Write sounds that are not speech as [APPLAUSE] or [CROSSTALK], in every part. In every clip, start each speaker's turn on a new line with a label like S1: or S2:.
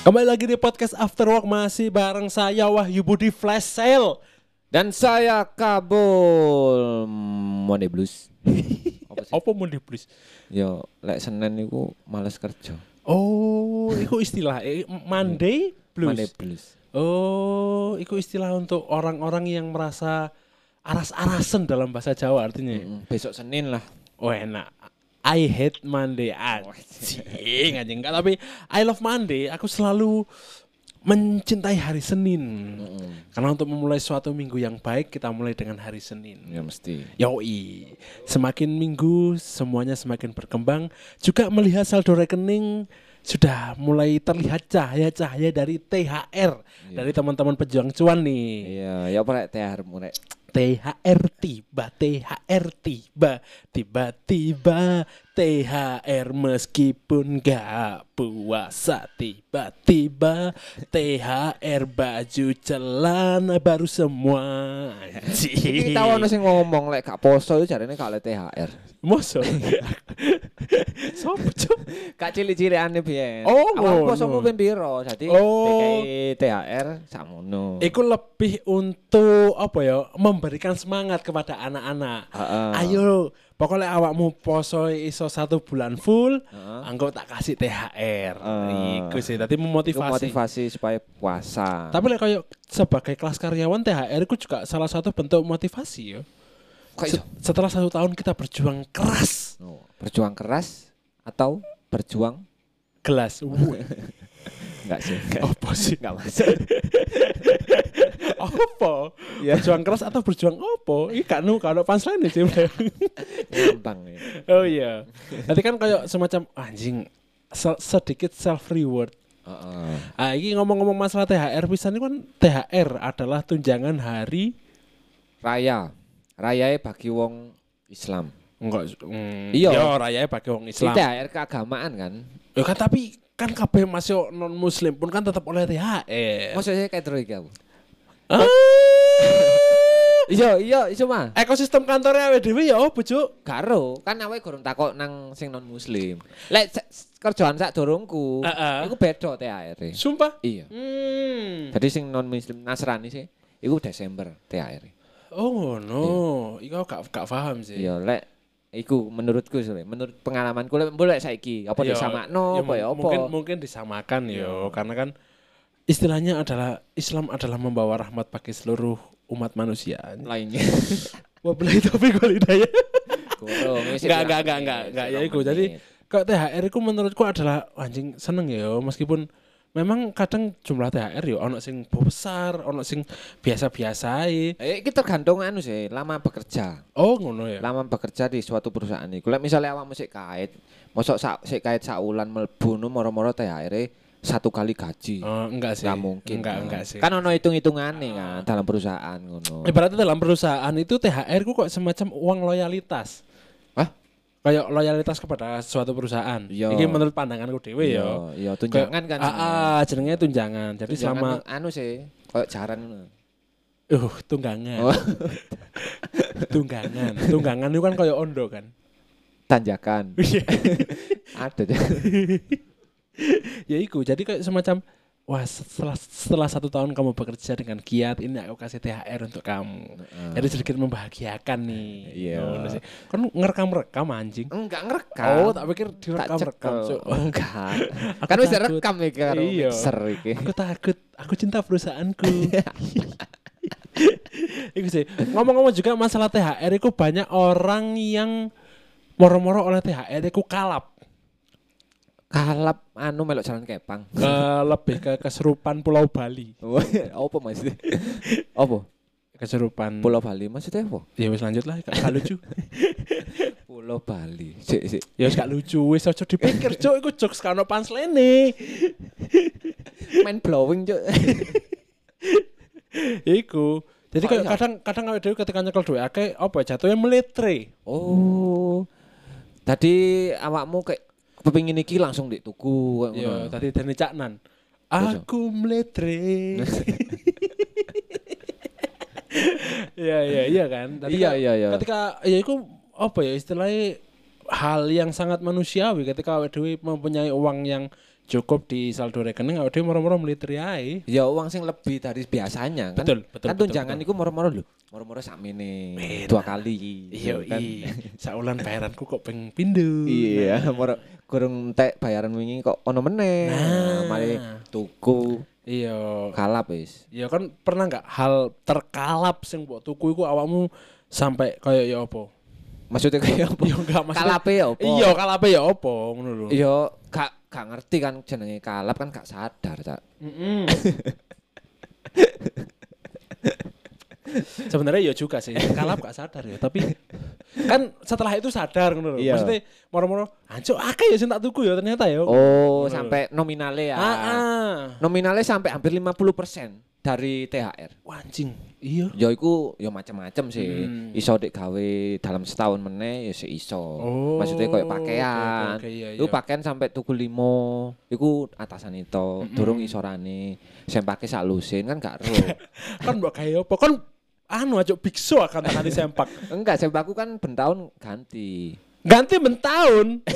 S1: Kembali lagi di podcast After Work masih bareng saya Wahyu Budi Flash Sale.
S2: Dan saya Kabul Monday Blues. Apa sih?
S1: Apa mundi please?
S2: Yo, lek Senin niku males kerja.
S1: Oh, itu istilah eh, Monday Blues.
S2: Monday Blues.
S1: Oh, itu istilah untuk orang-orang yang merasa aras-arasen dalam bahasa Jawa artinya. ya?
S2: Mm, Besok Senin lah.
S1: Oh enak. I hate Monday anjing anjing enggak tapi I love Monday aku selalu mencintai hari Senin.
S2: Hmm.
S1: Karena untuk memulai suatu minggu yang baik kita mulai dengan hari Senin.
S2: Ya mesti.
S1: Yoi, semakin minggu semuanya semakin berkembang. Juga melihat saldo rekening sudah mulai terlihat cahaya-cahaya dari THR dari teman-teman pejuang cuan nih.
S2: Iya, ya apa lek THR mu lek.
S1: THR tiba, THR tiba, tiba-tiba THR meskipun gak puasa tiba-tiba THR baju celana baru semua. Anjing.
S2: Iki tau ono sing ngomong lek gak poso itu jarene gak oleh THR. [LAUGHS]
S1: Moso. Sopo cuk?
S2: Gak cilik-cilikane biyen.
S1: Oh,
S2: Awal
S1: ngono.
S2: posomu ben piro? Jadi
S1: Oh.
S2: dikai THR samono.
S1: Iku lebih untuk apa ya? Memberikan semangat kepada anak-anak.
S2: Heeh.
S1: Ayo, pokoknya awakmu poso iso satu bulan full,
S2: Heeh.
S1: engko tak kasih THR.
S2: Heeh.
S1: Iku sih, tadi
S2: Ah. Iku
S1: memotivasi.
S2: motivasi supaya puasa.
S1: Tapi lek kayak sebagai kelas karyawan THR itu juga salah satu bentuk motivasi ya.
S2: Kok
S1: Se-
S2: iso?
S1: Setelah satu tahun kita berjuang keras,
S2: No, Berjuang keras atau berjuang
S1: gelas. Wuh,
S2: enggak
S1: [LAUGHS]
S2: sih?
S1: Apa sih?
S2: Enggak masuk.
S1: [LAUGHS] Apa?
S2: Iya.
S1: Berjuang keras atau berjuang apa? Ini kan kalau punchline sih.
S2: Ngambang ya.
S1: [LAUGHS] Oh iya. Nanti kan kayak semacam anjing se- sedikit self reward.
S2: Heeh.
S1: Ah ini ngomong-ngomong masalah THR pisan ini kan THR adalah tunjangan hari
S2: Raya. Rayae bagi wong Islam.
S1: enggak mm,
S2: Iya.
S1: ya rayanya pakai wong
S2: Islam.
S1: Islam.
S2: THR keagamaan kan.
S1: Ya kan tapi kan kabeh masih non muslim pun kan tetap oleh THR.
S2: Maksudnya kayak terus iki aku.
S1: Ah, [LAUGHS]
S2: Iya, iya, iso mah.
S1: ekosistem kantornya WDW ya opo, Cuk?
S2: Karo, kan awake gorong takok nang sing non muslim. Lek se- s- kerjaan sak dorongku,
S1: Heeh.
S2: iku beda THR.
S1: Sumpah.
S2: E. Iya.
S1: Hmm.
S2: Jadi sing non muslim Nasrani sih, iku Desember THR.
S1: Oh no, iku aku gak gak paham sih.
S2: Iya, lek iku menurutku sih, lek. menurut pengalamanku lek mbok lek saiki apa
S1: Ya, ya
S2: disamakno apa
S1: mung-
S2: ya apa. Iya.
S1: Mungkin mungkin disamakan yo, karena kan istilahnya adalah Islam adalah membawa rahmat bagi seluruh umat manusia.
S2: lainnya. [LAUGHS]
S1: Wabillahi taufiq wal hidayah.
S2: Gorong, wis
S1: Enggak
S2: pirang
S1: enggak enggak enggak
S2: menit,
S1: enggak ya
S2: pirang
S1: iku. Jadi
S2: menit.
S1: kok THR iku menurutku adalah anjing seneng ya meskipun memang kadang jumlah THR yo ya, ono sing besar, ono sing biasa-biasa ae.
S2: Eh, kita tergantung anu sih, lama bekerja.
S1: Oh ngono ya.
S2: Lama bekerja di suatu perusahaan iku. Lek misale awakmu sik kait, mosok sak sik kait saulan mlebu nu moro-moro THR satu kali gaji.
S1: Eh, enggak sih.
S2: Enggak mungkin.
S1: Enggak
S2: kan.
S1: enggak sih. Eh,
S2: Kan ono hitung-hitungane kan dalam perusahaan ngono.
S1: Ibaratnya dalam perusahaan itu THR ku kok semacam uang loyalitas.
S2: Hah?
S1: Kayak loyalitas kepada suatu perusahaan.
S2: Iya.
S1: Ini menurut pandanganku dewe ya.
S2: Iya, tunjangan kan.
S1: Ah, ah, jenenge tunjangan. Jadi
S2: Tunjangan
S1: selama
S2: tuh anu sih, koyo jaran ngono.
S1: uh tunggangan.
S2: Oh. [LAUGHS]
S1: [LAUGHS] tunggangan. Tunggangan itu kan kayak ondo kan.
S2: Tanjakan.
S1: Iya.
S2: Ada deh.
S1: [LAUGHS] ya iku. Jadi kayak semacam wah setelah setelah satu tahun kamu bekerja dengan giat ini aku kasih THR untuk kamu. Jadi sedikit membahagiakan nih.
S2: Iya.
S1: Ngono sih. Kan ngerekam-rekam anjing.
S2: [LAUGHS] Enggak ngerekam.
S1: Oh, tak pikir
S2: tak
S1: direkam-rekam.
S2: cekel.
S1: Cuk.
S2: [LAUGHS]
S1: [LAUGHS]
S2: Enggak.
S1: Aku
S2: Kan wis
S1: takut.
S2: rekam iki karo
S1: Iya.
S2: mixer iki.
S1: Aku takut, aku cinta perusahaanku. Iku sih. Ngomong-ngomong juga masalah THR iku banyak orang yang moro-moro oleh THR iku kalap.
S2: Kalap anu melok jalan kepang.
S1: Ke lebih ke keserupan Pulau Bali.
S2: apa maksudnya? Apa?
S1: Keserupan
S2: Pulau Bali maksudnya apa?
S1: Ya wis lanjut lah, gak gak lucu.
S2: Pulau Bali. Sik sik.
S1: ya wis gak lucu, wis aja dipikir, Cuk, iku jokes kan panslene.
S2: Main blowing cuk.
S1: Iku. Jadi
S2: Kok
S1: kayak
S2: iso?
S1: kadang kadang awake dhewe ketika nyekel duwe akeh apa ya, jatuhnya meletre.
S2: Oh. Tadi awakmu kayak kepengin iki langsung di tuku kayak
S1: Yo,
S2: ngono.
S1: Iya, tadi Dani Caknan.
S2: Iya, Cok.
S1: Aku
S2: [LAUGHS]
S1: meletre. Iya iya iya kan. Tadi
S2: Iya,
S1: kan-
S2: iya, iya.
S1: Ketika ya itu apa ya istilahnya hal yang sangat manusiawi ketika awake dhewe mempunyai uang yang cukup di saldo rekening awake dhewe moro-moro mliteri ae.
S2: Ya uang sing lebih dari biasanya kan.
S1: Betul, betul,
S2: Kan
S1: betul,
S2: tunjangan
S1: betul.
S2: iku moro-moro lho. Moro-moro sakmene dua kali.
S1: Iya,
S2: kan.
S1: [LAUGHS] iya. Saulan bayaranku kok peng pindu.
S2: Iya, moro kurang tek bayaran wingi kok ono meneh.
S1: Nah.
S2: Nah, mari tuku
S1: Iya.
S2: kalap wis.
S1: Iya kan pernah nggak hal terkalap sing mbok tuku iku awakmu sampai kayak ya apa?
S2: Maksudnya kaya apa?
S1: Iya enggak maksudnya.
S2: Kalape ya apa?
S1: Iya, kalape ya apa ngono lho.
S2: Iya, gak gak ngerti kan jenenge kalap kan gak sadar, Cak.
S1: Mm-mm. [LAUGHS] Sebenarnya ya juga sih, kalap gak sadar ya, tapi kan setelah itu sadar ngono lho.
S2: Iya.
S1: Maksudnya moro-moro anjuk akeh ya sing tak tuku ya ternyata ya.
S2: Oh, sampai nominale ya.
S1: Heeh.
S2: Nominale sampai hampir 50% dari THR.
S1: Wah, anjing. Iya.
S2: Ya iku ya macam-macam sih.
S1: Hmm.
S2: Iso dek gawe dalam setahun meneh ya sih iso.
S1: Oh,
S2: Maksudnya koyo
S1: oke,
S2: pakaian.
S1: oke, oke, iya,
S2: Iku
S1: iya.
S2: pakaian sampai tuku limo. Iku atasan itu, durung isorane. Sing pake sak lusin kan gak
S1: [LAUGHS]
S2: ero.
S1: Kan mbok kayak apa? Kan anu ajuk biksu akan tak ganti sempak.
S2: Enggak, sembaku kan ben tahun ganti.
S1: Ganti bentahun.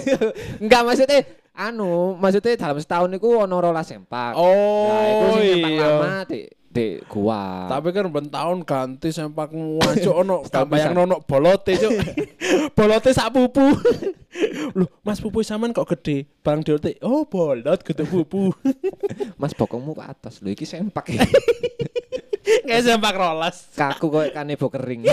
S2: Enggak maksudnya anu, maksudnya dalam setahun iku ono rolas sempak. nah, itu
S1: Oh,
S2: sing sempak
S1: iya.
S2: lama di di gua.
S1: Tapi kan ben tahun ganti sempakmu
S2: [LAUGHS]
S1: aja ono
S2: Setahun
S1: tambah yang ono bolote
S2: [LAUGHS]
S1: cuk. bolote sak pupu. [LAUGHS] Loh, Mas pupu sampean kok gede? Barang diurti, oh bolot gede
S2: [LAUGHS]
S1: pupu.
S2: Mas bokongmu ke atas lho iki sempak.
S1: [LAUGHS] Kayak sempak rolas.
S2: Kaku koyo kanebo kering.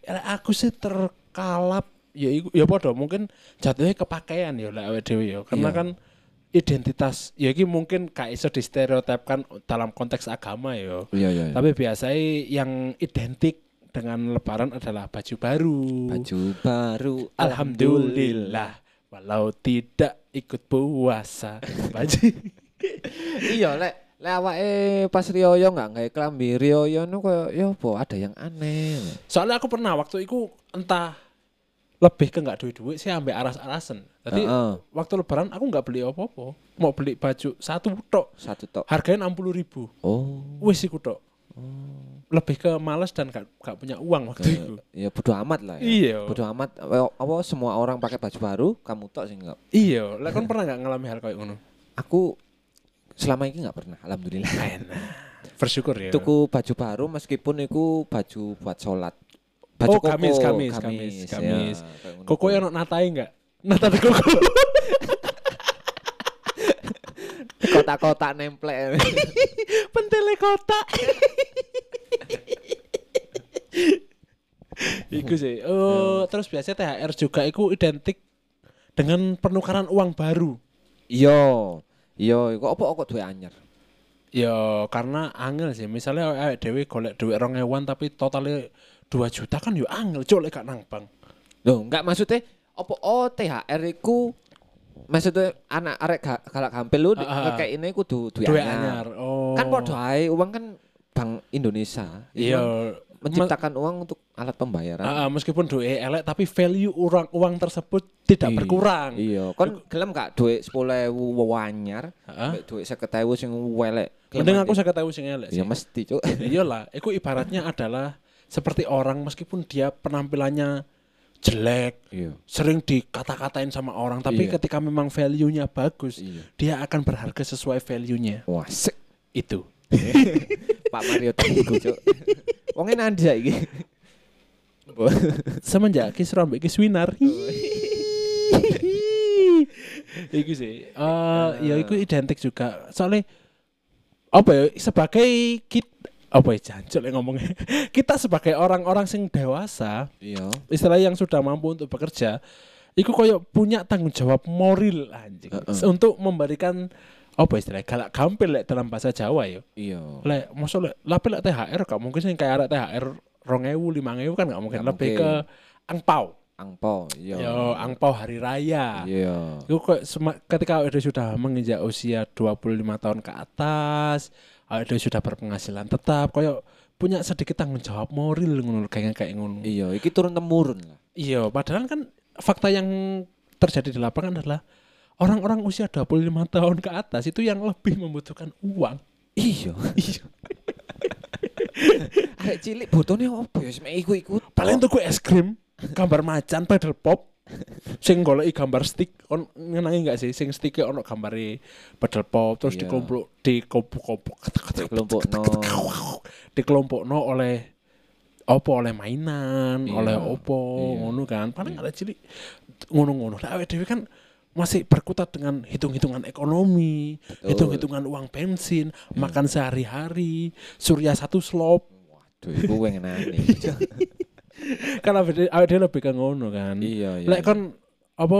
S1: Ya, aku sih terkalap ya iku- ya padha mungkin jatuhnya kepakaian ya lek awake dhewe ya. Karena
S2: Iya.
S1: kan identitas ya iki mungkin gak iso distereotipkan dalam konteks agama ya.
S2: Iya iya. iya.
S1: Tapi biasanya yang identik dengan lebaran adalah baju baru.
S2: Baju baru
S1: Alhamdulillah walau tidak ikut puasa.
S2: [LAUGHS]
S1: Baju.
S2: Iya lek lek awake pas rioyo enggak gawe klambi rioyo nu koyo yo apa ada yang aneh.
S1: Soalnya aku pernah waktu itu entah lebih ke nggak duit-duit sih ambek aras-arasan. Tadi
S2: Heeh.
S1: waktu lebaran aku nggak beli apa-apa. Mau beli baju satu tok.
S2: Satu tok.
S1: Harganya 60 ribu.
S2: Oh.
S1: Wis iku tok. Lebih ke males dan gak, gak punya uang waktu itu.
S2: Ya bodo amat lah ya.
S1: Iya.
S2: Bodo amat apa apa semua orang pakai baju baru, kamu tok sing enggak.
S1: Iya, lah kan pernah nggak ngalami hal kayak ngono?
S2: Aku selama ini nggak pernah alhamdulillah.
S1: Enak. Bersyukur ya.
S2: Tuku baju baru meskipun iku baju buat sholat. Baju
S1: oh, gamis,
S2: koko,
S1: gamis, gamis,
S2: ya,
S1: gamis.
S2: kayak ngono
S1: Koko ya.
S2: kuwi.
S1: yang natai enggak? Nata di koko.
S2: [LAUGHS] kotak-kotak nemplek. [LAUGHS]
S1: Pentele kotak. [LAUGHS] iku sih.
S2: Ya.
S1: Oh, terus biasanya THR juga iku identik dengan penukaran uang baru.
S2: Iya. Iya, kok apa kok duwe anyar?
S1: Ya karena angel sih. Misalnya awake dhewe golek dhuwit 2000 tapi totalnya 2 juta kan yo angel, cuk lek gak nang bank.
S2: Loh, enggak maksudnya apa oh THR iku maksudnya anak arek ga- galak gampil lu
S1: Ah, ah.
S2: kayak ini kudu duwe
S1: Dhuwit anyar.
S2: anyar.
S1: Oh.
S2: Kan podo ae uang kan Bank Indonesia.
S1: Iya.
S2: Iku
S1: Me-
S2: menciptakan uang untuk alat pembayaran.
S1: Ah, ah, meskipun duwe elek tapi value uang uang tersebut tidak
S2: Iya,
S1: berkurang.
S2: Iya, kon gelem gak duit 10.000 wanyar,
S1: Heeh.
S2: mbek duit 50.000 sing welek.
S1: Mending aku saya ketahui sing elek sih.
S2: Ya mesti, Cuk.
S1: Iyalah, itu ibaratnya adalah seperti orang meskipun dia penampilannya jelek,
S2: Iya.
S1: sering dikata-katain sama orang, tapi
S2: Iya.
S1: ketika memang value-nya bagus,
S2: Iya.
S1: dia akan berharga sesuai value-nya.
S2: Wah, sik.
S1: Itu.
S2: Pak Mario Teguh, Cuk. Wonge nandha iki.
S1: Semenjak Kisro ambek Kiswinar. Iku sih. Eh, ya iku identik juga. Soalnya apa ya sebagai kita apa ya jancuk lek ngomongnya. [LAUGHS] kita sebagai orang-orang sing dewasa,
S2: Iya.
S1: istilahnya yang sudah mampu untuk bekerja itu koyo punya tanggung jawab moral anjing
S2: Heeh.
S1: untuk memberikan apa istilahnya galak gampil lek dalam bahasa Jawa yo
S2: Iya.
S1: lek mosok lek lape lek THR gak mungkin sing kayak arek THR 2000 5000 kan gak mungkin
S2: Gak
S1: lebih
S2: mungkin.
S1: ke angpau
S2: Angpo, iya.
S1: yo angpau hari raya
S2: Iya.
S1: Itu kok sema- ketika awake dhewe sudah menginjak usia 25 tahun ke atas, awake dhewe sudah berpenghasilan tetap, koyo punya sedikit tanggung jawab moral ngono lho, kayak kayak ngono.
S2: Iya, iki turun temurun lah.
S1: Iya, padahal kan fakta yang terjadi di lapangan adalah orang-orang usia 25 tahun ke atas itu yang lebih membutuhkan uang.
S2: Iya.
S1: Iya.
S2: Arek cilik botone opo ya smek iku-iku.
S1: Paling tuh gue es krim, gambar macan, pedal pop. sing goleki gambar stick on ngenangi enggak sih sing stike ono gambare pedal pop terus
S2: Iya.
S1: dikelompok dikelompok
S2: Dikelompokno.
S1: dikelompokno oleh opo oleh mainan,
S2: Iya.
S1: oleh opo
S2: Iya.
S1: ngono kan. Paling ada cilik ngono-ngono. Lah awake dhewe kan masih berkutat dengan hitung-hitungan ekonomi, hitung-hitungan uang bensin,
S2: Iya.
S1: makan sehari-hari, surya satu slop.
S2: Duh, iku ngenani.
S1: Iya, kan awake dhewe- awake dhewe lebih ke ngono kan.
S2: Iya, iya.
S1: Lek kon apa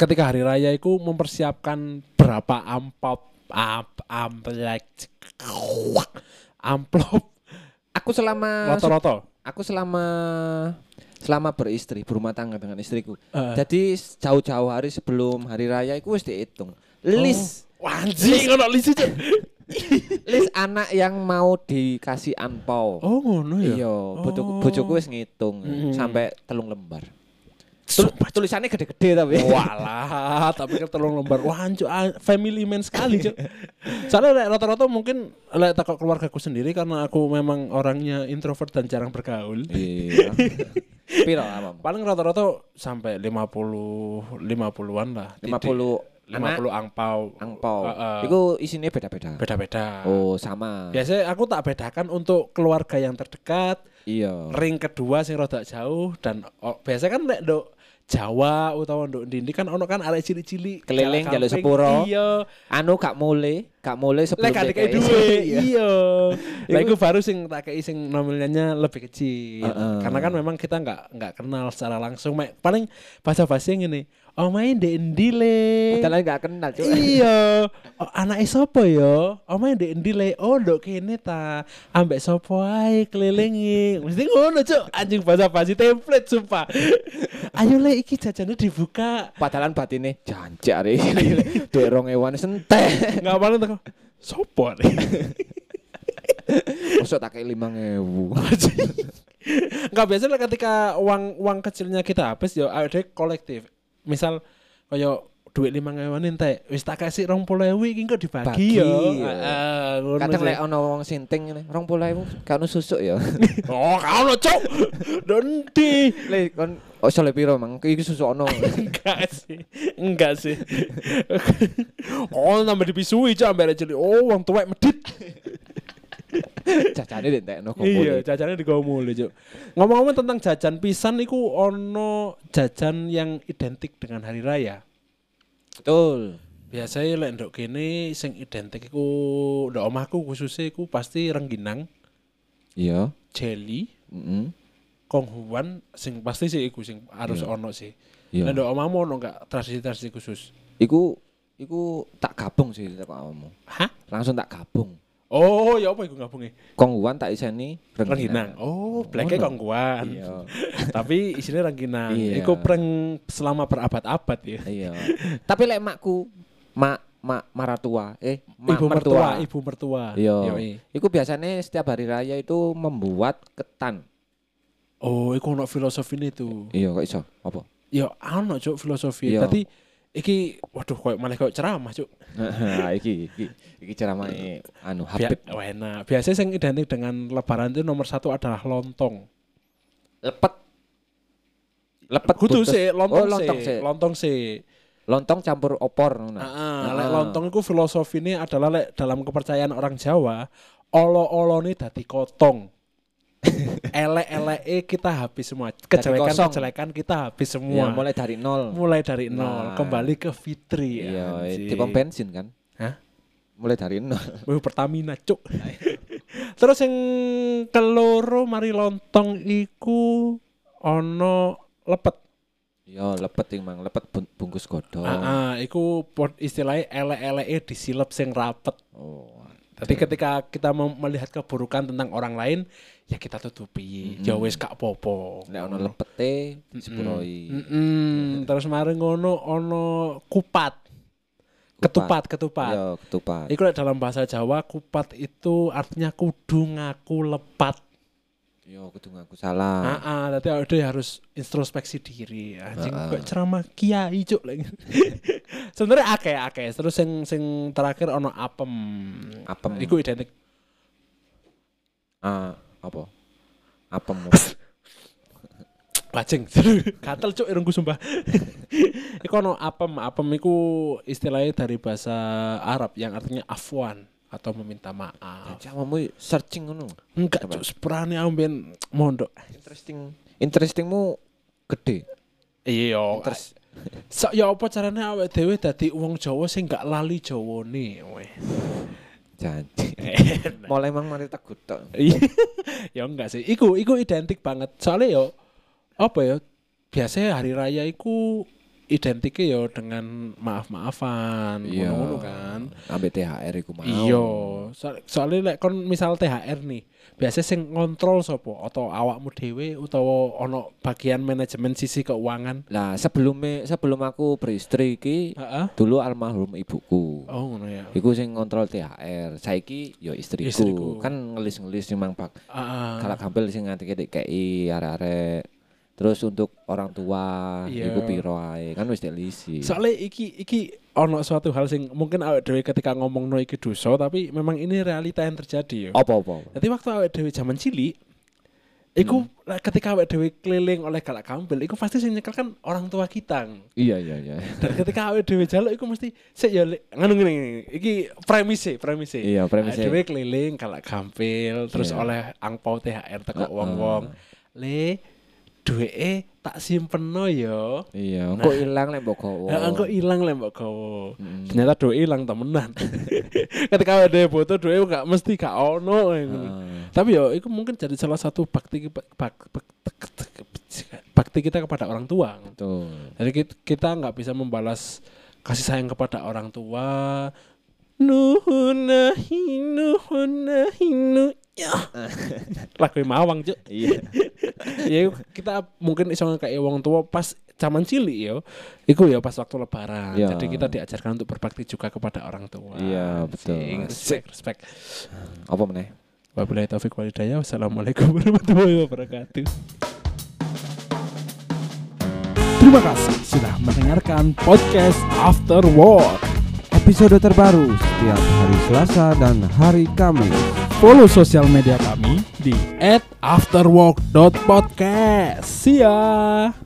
S1: ketika hari raya itu mempersiapkan berapa amplop amp, amplek amplop
S2: Aku selama
S1: roto-roto.
S2: aku selama selama beristri berumah tangga dengan istriku
S1: Eh.
S2: jadi jauh-jauh hari sebelum hari raya itu harus dihitung list
S1: Oh. Wah, anjing ngono list Cuk.
S2: list anak yang mau dikasih angpau
S1: Oh ngono ya.
S2: iya bojoku bojoku wis ngitung
S1: Mm.
S2: sampai telung lembar Tul-
S1: Sumpah, Cuk.
S2: tulisannya gede-gede tapi [LAUGHS]
S1: Walah, tapi kan telung lembar. Wah, anjuk, ah, family man sekali, Cuk. Soalnya lek rata-rata mungkin lek takut keluargaku sendiri karena aku memang orangnya introvert dan jarang bergaul.
S2: iya piro awam
S1: Paling rata-rata sampai 50 50-an lah. 50
S2: 50
S1: angpau.
S2: angpau
S1: Heeh.
S2: itu isinya beda-beda
S1: beda-beda.
S2: oh sama
S1: Biasanya aku tak bedakan untuk keluarga yang terdekat,
S2: iya
S1: ring kedua sing rada jauh dan oh, biasanya kan nek nduk Jawa utawa nduk Dindi kan ono kan arek cilik-cilik
S2: Keliling,
S1: jalan
S2: jaluk
S1: kampung.
S2: sepuro.
S1: Iya.
S2: anu gak mulai gak mulai sebelum
S1: Lek kadek
S2: DKI.
S1: duwe.
S2: Iya.
S1: [LAUGHS] Iya. Lah iku baru sing tak kei sing nominalnya lebih kecil.
S2: Heeh.
S1: Karena kan memang kita nggak nggak kenal secara langsung. Mek. Paling basa-basi ngene. Oh main ndek Endi le.
S2: Padahal gak kenal cuy.
S1: Iya, oh, anake sapa ya? Omahe ndek endi le? Oh, ndok kene ta. Ambek sapa ae kelilingi. Mesti ngono, Cuk. Anjing bahasa basi template sumpah. [LAUGHS] Ayo le iki jajannya dibuka.
S2: Padahal batine jancak [LAUGHS] re. Dek rong ewan sentek.
S1: Enggak paling teko. Sopo le?
S2: Mosok tak kei 5000.
S1: Enggak biasa lah ketika uang uang kecilnya kita habis ya ada kolektif. Misal kaya duit lima ngewan ente wis tak kasih rong puluh ewu iki kok dibagi
S2: Bagi,
S1: ya
S2: ya.
S1: Heeh, ngono
S2: Kadang
S1: sih.
S2: lek ana wong sinting ngene, 20.000 kan susuk ya.
S1: [LAUGHS] oh kau lo cok dondi
S2: Oh, Lek kon oso le piro mang? Iki
S1: [LAUGHS]
S2: susuk ono.
S1: enggak sih enggak sih [LAUGHS] oh nambah dipisui cok ambil aja oh wong tuwek medit
S2: Jajane dek tekno kok.
S1: iya jajannya digawa mulu cok ngomong-ngomong tentang jajan pisan iku ono jajan yang identik dengan hari raya
S2: Betul.
S1: biasanya lek ndok kene sing identik iku ndok omahku khususnya iku pasti rengginang
S2: Iya.
S1: jelly
S2: Heeh.
S1: konghuan sing pasti sih iku sing harus ono sih Lah
S2: Iya.
S1: ndok omahmu ono enggak tradisi-tradisi khusus
S2: Iku iku tak gabung sih tak awakmu.
S1: Hah?
S2: Langsung tak gabung.
S1: Oh, ya apa iku gabunge?
S2: Kongguan tak iseni
S1: Rengginang. Oh, bleke
S2: Ngono.
S1: kongguan.
S2: Iya.
S1: [LAUGHS] Tapi isinya rengginang.
S2: Iya.
S1: Iku prank selama berabad-abad ya.
S2: Iya. Tapi lek makku, mak mak maratua, eh mak
S1: ibu mertua,
S2: mertua.
S1: ibu mertua.
S2: Iya.
S1: Yoi.
S2: Iku biasanya setiap hari raya itu membuat ketan.
S1: Oh, iku ono filosofine itu.
S2: Iya, kok iso? Apa?
S1: Ya ono cuk filosofi.
S2: Iya.
S1: Tadi iki waduh koyo malah koyo ceramah cuk.
S2: [LAUGHS] iki iki iki ceramah anu
S1: Bia-
S2: Habib
S1: Wah, enak. Biasanya yang identik dengan lebaran itu nomor satu adalah lontong.
S2: lepet. Lepet
S1: Kudu
S2: buntes.
S1: sih, lontong,
S2: oh, lontong
S1: sih.
S2: sih.
S1: Lontong sih.
S2: Lontong campur opor ngono.
S1: Heeh,
S2: Ah.
S1: lek lontong iku filosofine adalah lek dalam kepercayaan orang Jawa, olo-olone dadi kotong.
S2: [LAUGHS]
S1: Elek-eleke kita habis semua.
S2: kosong.
S1: Kejelekan-kejelekan kita habis semua.
S2: Ya,
S1: mulai,
S2: mulai dari nol.
S1: dari nol,
S2: Nah.
S1: kembali ke fitri.
S2: Iya,
S1: anjing.
S2: di pom bensin kan.
S1: Hah?
S2: Mulai dari nol.
S1: Wih, Pertamina, cuk. Terus yang keloro mari lontong iku ono lepet.
S2: [LAUGHS] Iya, lepet iki, Mang, lepet bun- bungkus godhong.
S1: Heeh, Ah, iku pod- istilahnya elek-eleke disilep sing rapet.
S2: Oh.
S1: Tapi ketika kita mem- melihat keburukan tentang orang lain, ya kita tutupi. Ya wis gak popo.
S2: Nek ono lepete sepuroi.
S1: Mm-mm. Terus mari ngono ono kupat. Ketupat, ketupat.
S2: Iya, ketupat.
S1: Iku lek dalam bahasa Jawa kupat itu artinya kudu ngaku lepat.
S2: Iya, kudu ngaku salah.
S1: Heeh, dadi awake dhewe harus introspeksi diri. Anjing
S2: Ah, ah.
S1: kok ceramah kiai cuk lagi. [LAUGHS] Sebenarnya akeh-akeh. Terus sing sing terakhir ono apem.
S2: Apem.
S1: Iku identik [LAUGHS]
S2: Ah, apa? Apem.
S1: Bajeng. [LAUGHS] Gatel cuk irungku sumpah. [LAUGHS] iku ono apem, apem iku istilahnya dari bahasa Arab yang artinya afwan atau meminta maaf.
S2: Jawamu searching ngono.
S1: Enggak cuk, seprane aku ben mondok.
S2: Interesting. Interestingmu gede.
S1: Iya,
S2: Terus
S1: Sak ya apa carane awake dhewe dadi wong Jawa sing gak lali Jawane. weh. [LAUGHS]
S2: janji. Mulai mang mari tegut tok.
S1: Iya. ya enggak sih. Iku iku identik banget. Soalnya yo apa ya? Biasanya hari raya iku identiknya yo dengan maaf-maafan, ngono-ngono kan.
S2: Ambek THR iku mau.
S1: Iya, soal- soalnya lek kon misal THR nih, biasanya sing ngontrol sopo atau awakmu dhewe utawa ono bagian manajemen sisi keuangan.
S2: Lah sebelumnya sebelum aku beristri iki
S1: Heeh.
S2: dulu almarhum ibuku.
S1: Oh ngono ya.
S2: Iku sing ngontrol THR. Saiki yo istriku.
S1: Istriku. Ah.
S2: Kan ngelis-ngelis memang Pak.
S1: Heeh.
S2: Kalau kampil sing nganti ke DKI arek-arek. Terus untuk orang tua
S1: Iya.
S2: iku piro ae. Kan wis dilisi.
S1: Soalnya iki iki ono suatu hal sing mungkin awake dhewe ketika ngomong no iki dosa tapi memang ini realita yang terjadi ya.
S2: Apa-apa.
S1: Jadi waktu awake dhewe zaman cilik iku
S2: Hmm.
S1: lah ketika awake dhewe keliling oleh galak kampil iku pasti sing nyekel kan orang tua kita.
S2: Iya iya iya.
S1: Dan ketika awake dhewe jaluk iku mesti sik ya Lik." ngene ngene ngene. iki premise premise.
S2: Iya, premise.
S1: Awake dhewe keliling galak kampil terus
S2: Iya.
S1: oleh angpau THR teko
S2: Heeh.
S1: wong-wong. Le duweke tak simpeno ya.
S2: Iya, engko ilang lek mbok gowo.
S1: Heeh, kok hilang lah mbak kowo.
S2: Hmm.
S1: Ternyata doi hilang temenan. [LAUGHS] Ketika ada foto doi gak mesti gak ono. yang ngono.
S2: Heeh.
S1: Tapi ya itu mungkin jadi salah satu bakti ki- bak- bak- bakti kita kepada orang tua.
S2: Betul.
S1: [LAUGHS] Jadi kit- kita nggak bisa membalas kasih sayang kepada orang tua. Nuhuna hinu huna hinu
S2: [LAUGHS]
S1: ya. Lagu mawang cuk.
S2: Iya.
S1: ya kita mungkin iso kayak wong tua pas zaman cilik yo iku ya pas waktu lebaran
S2: Ya.
S1: jadi kita diajarkan untuk berbakti juga kepada orang tua
S2: Iya, betul.
S1: Sing, respect respect
S2: Apa meneh?
S1: wabillahi taufik walhidayah wassalamualaikum [LAUGHS] warahmatullahi wabarakatuh
S3: Terima kasih sudah mendengarkan podcast After Work.
S4: Episode terbaru setiap hari Selasa dan hari Kamis.
S3: Follow sosial media kami di
S1: at afterwork.podcast see ya